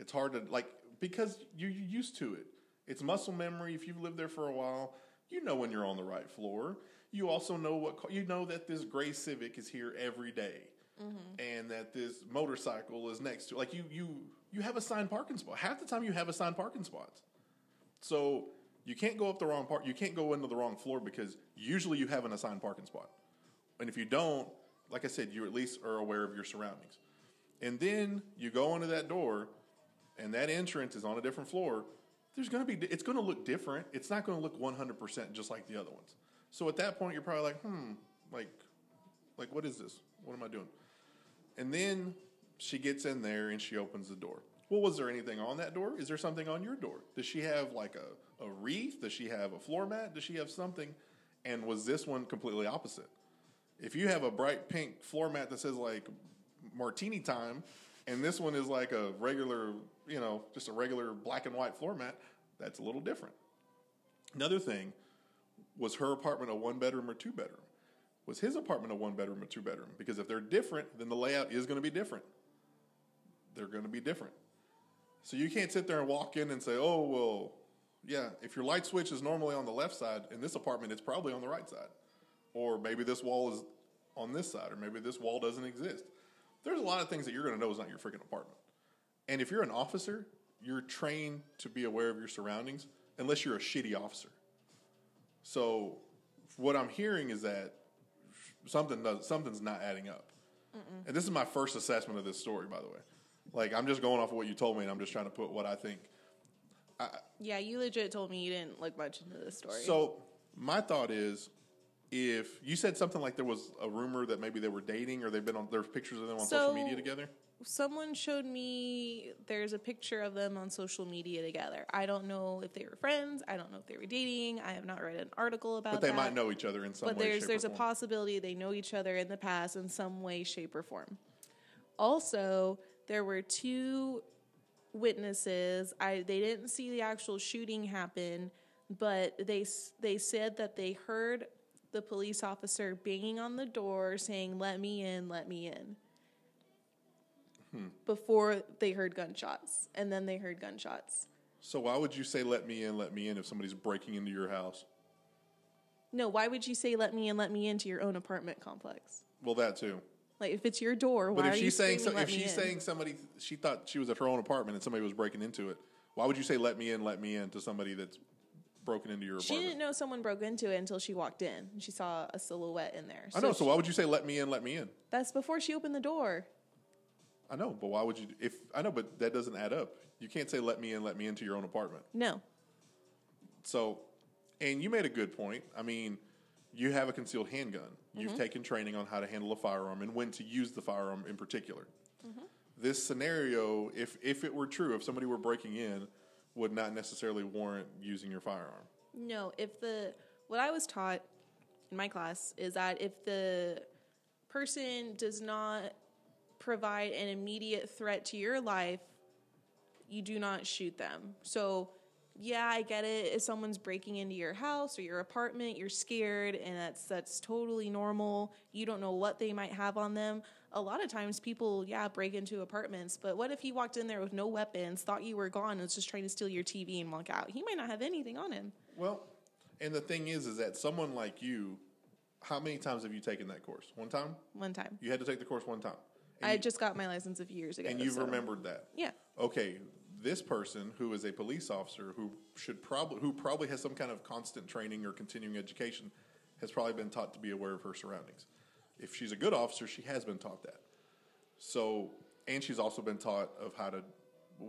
Speaker 1: It's hard to like because you, you're used to it. It's muscle memory. If you've lived there for a while, you know when you're on the right floor. You also know what ca- you know that this gray Civic is here every day, and that this motorcycle is next to. Like you, you, you have assigned parking spot. Half the time, you have assigned parking spots. So you can't go up the wrong part. You can't go into the wrong floor because usually you have an assigned parking spot. And if you don't, like I said, you at least are aware of your surroundings. And then you go into that door, and that entrance is on a different floor. There's going to be it's going to look different. It's not going to look 100% just like the other ones. So at that point, you're probably like, hmm, like, like what is this? What am I doing? And then she gets in there and she opens the door. Well, was there anything on that door? Is there something on your door? Does she have like a, a wreath? Does she have a floor mat? Does she have something? And was this one completely opposite? If you have a bright pink floor mat that says like martini time, and this one is like a regular, you know, just a regular black and white floor mat, that's a little different. Another thing was her apartment a one bedroom or two bedroom? was his apartment a one bedroom or two bedroom? Because if they're different, then the layout is going to be different. They're going to be different. So you can't sit there and walk in and say, oh, well, yeah, if your light switch is normally on the left side, in this apartment, it's probably on the right side. Or maybe this wall is on this side, or maybe this wall doesn't exist. There's a lot of things that you're going to know is not your freaking apartment. And if you're an officer, you're trained to be aware of your surroundings, unless you're a shitty officer. So, what I'm hearing is that something does, something's not adding up. Mm-hmm. And this is my first assessment of this story, by the way. Like, I'm just going off of what you told me, and I'm just trying to put what I think.
Speaker 2: Yeah, you legit told me you didn't look much into this story.
Speaker 1: So, my thought is, if you said something like there was a rumor that maybe they were dating or they've been on, there's pictures of them on social
Speaker 2: So-
Speaker 1: media together.
Speaker 2: someone showed me there's a picture of them on social media together. I don't know if they were friends. I don't know if they were dating. I have not read an article about
Speaker 1: But they
Speaker 2: that.
Speaker 1: might know each other in some
Speaker 2: But
Speaker 1: way.
Speaker 2: there's
Speaker 1: shape,
Speaker 2: there's
Speaker 1: or
Speaker 2: a
Speaker 1: form.
Speaker 2: possibility they know each other in the past in some way, shape, or form. Also, there were two witnesses. I they didn't see the actual shooting happen, but they s- they said that they heard the police officer banging on the door saying, "Let me in, let me in."
Speaker 1: Hmm.
Speaker 2: Before they heard gunshots, and then they heard gunshots.
Speaker 1: So why would you say "let me in, let me in" if somebody's breaking into your house?
Speaker 2: No, why would you say "let me in, let me in" to your own apartment complex?
Speaker 1: Well, that too.
Speaker 2: Like if it's your door, why
Speaker 1: But if
Speaker 2: are you
Speaker 1: she's saying
Speaker 2: screaming,
Speaker 1: so,
Speaker 2: "Let
Speaker 1: if
Speaker 2: me
Speaker 1: she's
Speaker 2: in"?
Speaker 1: saying somebody she thought she was at her own apartment and somebody was breaking into it, why would you say "let me in, let me in" to somebody that's broken into your
Speaker 2: She
Speaker 1: apartment?
Speaker 2: didn't know someone broke into it until she walked in. She saw a silhouette in there.
Speaker 1: I know. So
Speaker 2: she-
Speaker 1: why would you say "let me in, let me in"?
Speaker 2: that's before she opened the door.
Speaker 1: I know, but why would you? If I know, but that doesn't add up. You can't say "let me in, let me in" to your own apartment.
Speaker 2: No.
Speaker 1: So, and you made a good point. I mean, you have a concealed handgun. You've taken training on how to handle a firearm and when to use the firearm in particular. This scenario, if if it were true, if somebody were breaking in, would not necessarily warrant using your firearm.
Speaker 2: No. If the what I was taught in my class is that if the person does not provide an immediate threat to your life, you do not shoot them. So, yeah, I get it. If someone's breaking into your house or your apartment, you're scared, and that's that's totally normal. You don't know what they might have on them. A lot of times, people yeah break into apartments, but what if he walked in there with no weapons, thought you were gone, and was just trying to steal your TV and walk out? He might not have anything on him.
Speaker 1: Well, and the thing is, is that someone like you, how many times have you taken that course? One time.
Speaker 2: One time,
Speaker 1: You had to take the course one time, and,
Speaker 2: I
Speaker 1: you,
Speaker 2: just got my license a few years ago,
Speaker 1: and you've
Speaker 2: so-
Speaker 1: remembered that.
Speaker 2: Yeah,
Speaker 1: okay, this person who is a police officer who should probably who probably has some kind of constant training or continuing education has probably been taught to be aware of her surroundings. If she's a good officer, she has been taught that. So, and she's also been taught of how to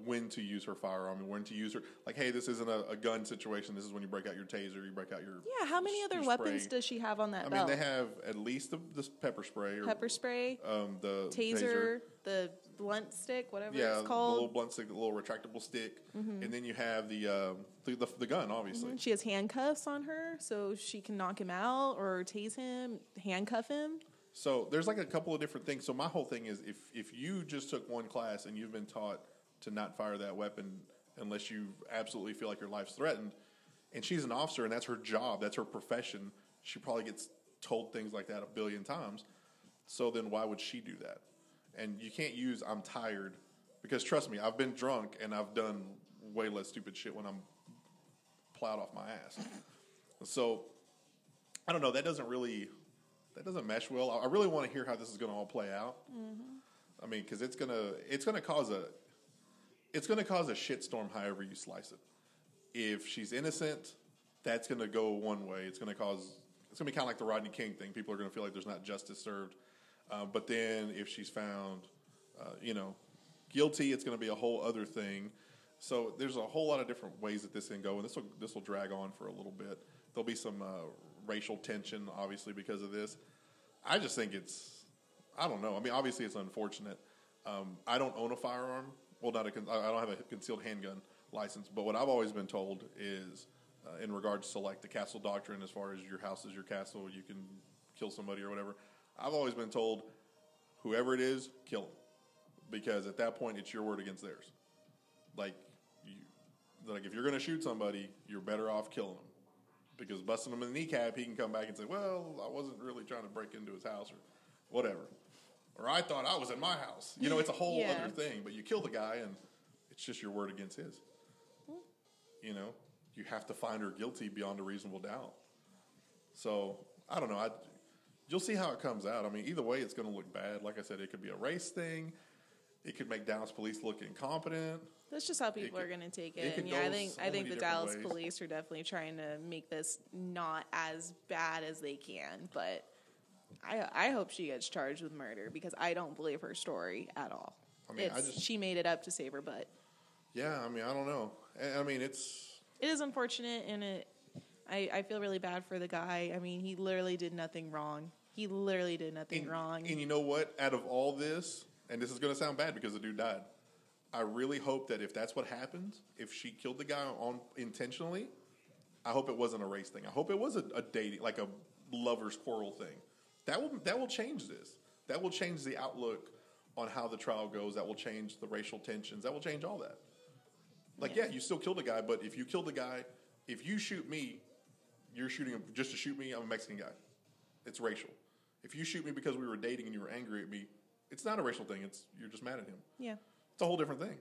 Speaker 1: when to use her firearm and when to use her like hey this isn't a, a gun situation this is when you break out your taser you break out your
Speaker 2: yeah. How many
Speaker 1: your
Speaker 2: other weapons
Speaker 1: spray.
Speaker 2: does she have on that
Speaker 1: i mean
Speaker 2: belt?
Speaker 1: they have at least the, the pepper spray or
Speaker 2: Pepper spray.
Speaker 1: um the
Speaker 2: taser, the blunt stick, whatever
Speaker 1: yeah,
Speaker 2: it's
Speaker 1: the little
Speaker 2: called. Mm-hmm.
Speaker 1: blunt stick, the little retractable stick, and then you have the um, the, the, the gun, obviously.
Speaker 2: She has handcuffs on her, so she can knock him out or tase him, handcuff him.
Speaker 1: So there's like a couple of different things. So my whole thing is if if you just took one class and you've been taught to not fire that weapon unless you absolutely feel like your life's threatened, and she's an officer and that's her job, that's her profession, she probably gets told things like that a billion times. So then why would she do that? And you can't use I'm tired because trust me, I've been drunk and I've done way less stupid shit when I'm plowed off my ass. So I don't know. That doesn't really that doesn't mesh well. I- I really want to hear how this is going to all play out. I mean, because it's gonna it's gonna cause a it's gonna cause a shitstorm. However you slice it, if she's innocent, that's gonna go one way. It's gonna cause it's gonna be kind of like the Rodney King thing. People are gonna feel like there's not justice served. Uh, but then if she's found, uh, you know, guilty, it's gonna be a whole other thing. So there's a whole lot of different ways that this can go, and this will this will drag on for a little bit. There'll be some uh, racial tension, obviously, because of this. I just think it's, I don't know. I mean, obviously it's unfortunate. Um, I don't own a firearm. Well, not a, con- I I don't have a concealed handgun license. But what I've always been told is, uh, in regards to like the castle doctrine, as far as your house is your castle, you can kill somebody or whatever. I've always been told, whoever it is, kill them, because at that point it's your word against theirs. Like, you, like if you're gonna shoot somebody, you're better off killing them because busting him in the kneecap, he can come back and say, "Well, I wasn't really trying to break into his house or whatever," or "I thought I was in my house." You know, it's a whole
Speaker 2: Yeah.
Speaker 1: other thing. But you kill the guy, and it's just your word against his. You know, you have to find her guilty beyond a reasonable doubt. So I don't know. I, you'll see how it comes out. I mean, either way, it's going to look bad. Like I said, it could be a race thing. It could make Dallas police look incompetent.
Speaker 2: That's just how people
Speaker 1: could-
Speaker 2: are going to take
Speaker 1: it
Speaker 2: it.
Speaker 1: could
Speaker 2: and yeah, I
Speaker 1: go
Speaker 2: think
Speaker 1: so
Speaker 2: I think
Speaker 1: many
Speaker 2: the
Speaker 1: different
Speaker 2: Dallas
Speaker 1: ways.
Speaker 2: police are definitely trying to make this not as bad as they can. But I I hope she gets charged with murder because I don't believe her story at all.
Speaker 1: I mean, I
Speaker 2: It's-
Speaker 1: just-
Speaker 2: she made it up to save her butt.
Speaker 1: Yeah, I mean, I don't know. I, I mean, it's
Speaker 2: It is unfortunate, and it I, I feel really bad for the guy. I mean, he literally did nothing wrong. He literally did nothing
Speaker 1: and,
Speaker 2: wrong.
Speaker 1: And you know what? Out of all this, and this is going to sound bad because the dude died. I really hope that if that's what happens, if she killed the guy on intentionally, I hope it wasn't a race thing. I hope it was a, a dating, like a lovers quarrel thing. That will that will change this. That will change the outlook on how the trial goes. That will change the racial tensions. That will change all that. Like, yeah, you still killed a guy, but if you killed a guy, if you shoot me, you're shooting him just to shoot me. I'm a Mexican guy. It's racial. If you shoot me because we were dating and you were angry at me, it's not a racial thing. It's you're just mad at him.
Speaker 2: yeah.
Speaker 1: It's a whole different thing.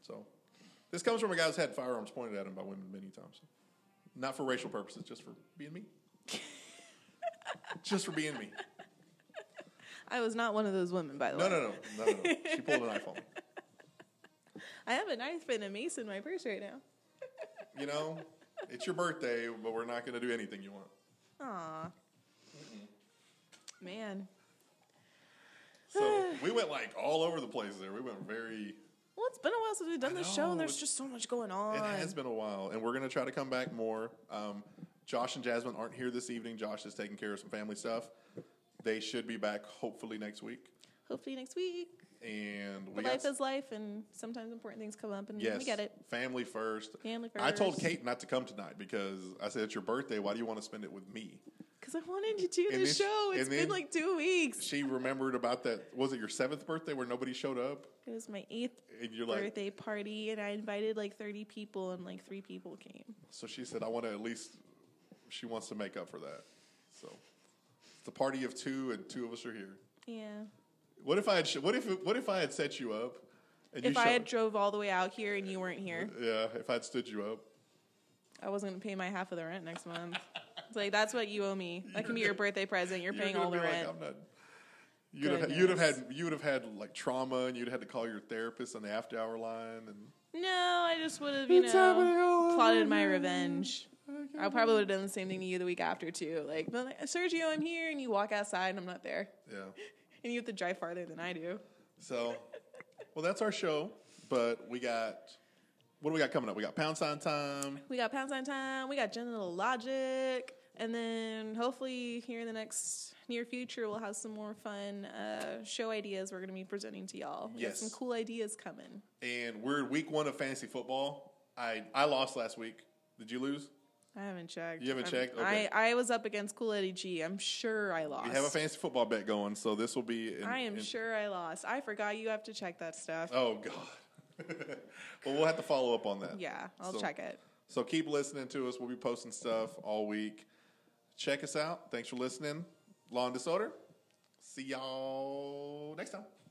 Speaker 1: So, this comes from a guy who's had firearms pointed at him by women many times. Not for racial purposes, just for being me. just for being me.
Speaker 2: I was not one of those women, by the
Speaker 1: No,
Speaker 2: way.
Speaker 1: no, no, no, no, no. She pulled a knife on me.
Speaker 2: I have a knife and a mace in my purse right now.
Speaker 1: You know, it's your birthday, but we're not going to do anything you want.
Speaker 2: Aw. Man.
Speaker 1: So we went like all over the place there. We went very.
Speaker 2: Well, it's been a while since we've done
Speaker 1: I
Speaker 2: this show, and
Speaker 1: know,
Speaker 2: there's
Speaker 1: it's-
Speaker 2: just so much going on.
Speaker 1: It has been a while, and we're going to try to come back more. Um, Josh and Jasmine aren't here this evening. Josh is taking care of some family stuff. They should be back hopefully next week.
Speaker 2: Hopefully next week.
Speaker 1: And we
Speaker 2: But
Speaker 1: got
Speaker 2: life is life, and sometimes important things come up, and
Speaker 1: Yes.
Speaker 2: we get it.
Speaker 1: Family first.
Speaker 2: Family
Speaker 1: I told
Speaker 2: first.
Speaker 1: Kate not to come tonight because I said it's your birthday. Why do you want to spend it with me?
Speaker 2: Because I wanted to do
Speaker 1: And
Speaker 2: this
Speaker 1: then-
Speaker 2: show. It's
Speaker 1: and
Speaker 2: been
Speaker 1: then-
Speaker 2: like two weeks.
Speaker 1: She remembered about that. Was it your seventh birthday where nobody showed up?
Speaker 2: It was my eighth
Speaker 1: And you're like,
Speaker 2: birthday party, and I invited like 30 people, and like three people came.
Speaker 1: so she said, I want to at least. She wants to make up for that. So it's a party of two, and two of us are here.
Speaker 2: Yeah.
Speaker 1: What if I had? sh- What if? What if I had set you up? And
Speaker 2: if I
Speaker 1: showed-
Speaker 2: had drove all the way out here and you weren't here,
Speaker 1: yeah, if I'd stood you up,
Speaker 2: I wasn't going to pay my half of the rent next month. It's like, that's what you owe me. That can be your birthday present. You're
Speaker 1: you're
Speaker 2: paying
Speaker 1: gonna
Speaker 2: all the
Speaker 1: be like,
Speaker 2: rent.
Speaker 1: I'm not. You'd have, you'd have had you would have had like trauma, and you'd had to call your therapist on the after hour line, and
Speaker 2: No, I just would have, you
Speaker 1: It's happening all
Speaker 2: know,
Speaker 1: over
Speaker 2: plotted
Speaker 1: again.
Speaker 2: my revenge. I probably would have done the same thing to you the week after too. Like, they're like, Sergio, I'm here, and you walk outside, and I'm not there,
Speaker 1: yeah.
Speaker 2: and you have to drive farther than I do.
Speaker 1: So, well, that's our show. But we got what do we got coming up? We got pound sign time.
Speaker 2: We got pound sign time. We got genital logic, and then hopefully here in the next near future, we'll have some more fun uh, show ideas we're going to be presenting to y'all. We got
Speaker 1: Yes.
Speaker 2: some cool ideas coming.
Speaker 1: And we're in week one of fantasy football. I I lost last week. Did you lose?
Speaker 2: I haven't checked.
Speaker 1: You haven't
Speaker 2: I'm-
Speaker 1: checked? Okay.
Speaker 2: I, I was up against Cool Eddie G. I'm sure I lost.
Speaker 1: We have a fantasy football bet going, so this will be. In,
Speaker 2: I am
Speaker 1: in-
Speaker 2: sure I lost. I forgot you have to check that stuff.
Speaker 1: Oh God. well, we'll have to follow up on that.
Speaker 2: Yeah, I'll
Speaker 1: So-
Speaker 2: check it.
Speaker 1: So keep listening to us. We'll be posting stuff all week. Check us out. Thanks for listening. Law and Disorder. See y'all next time.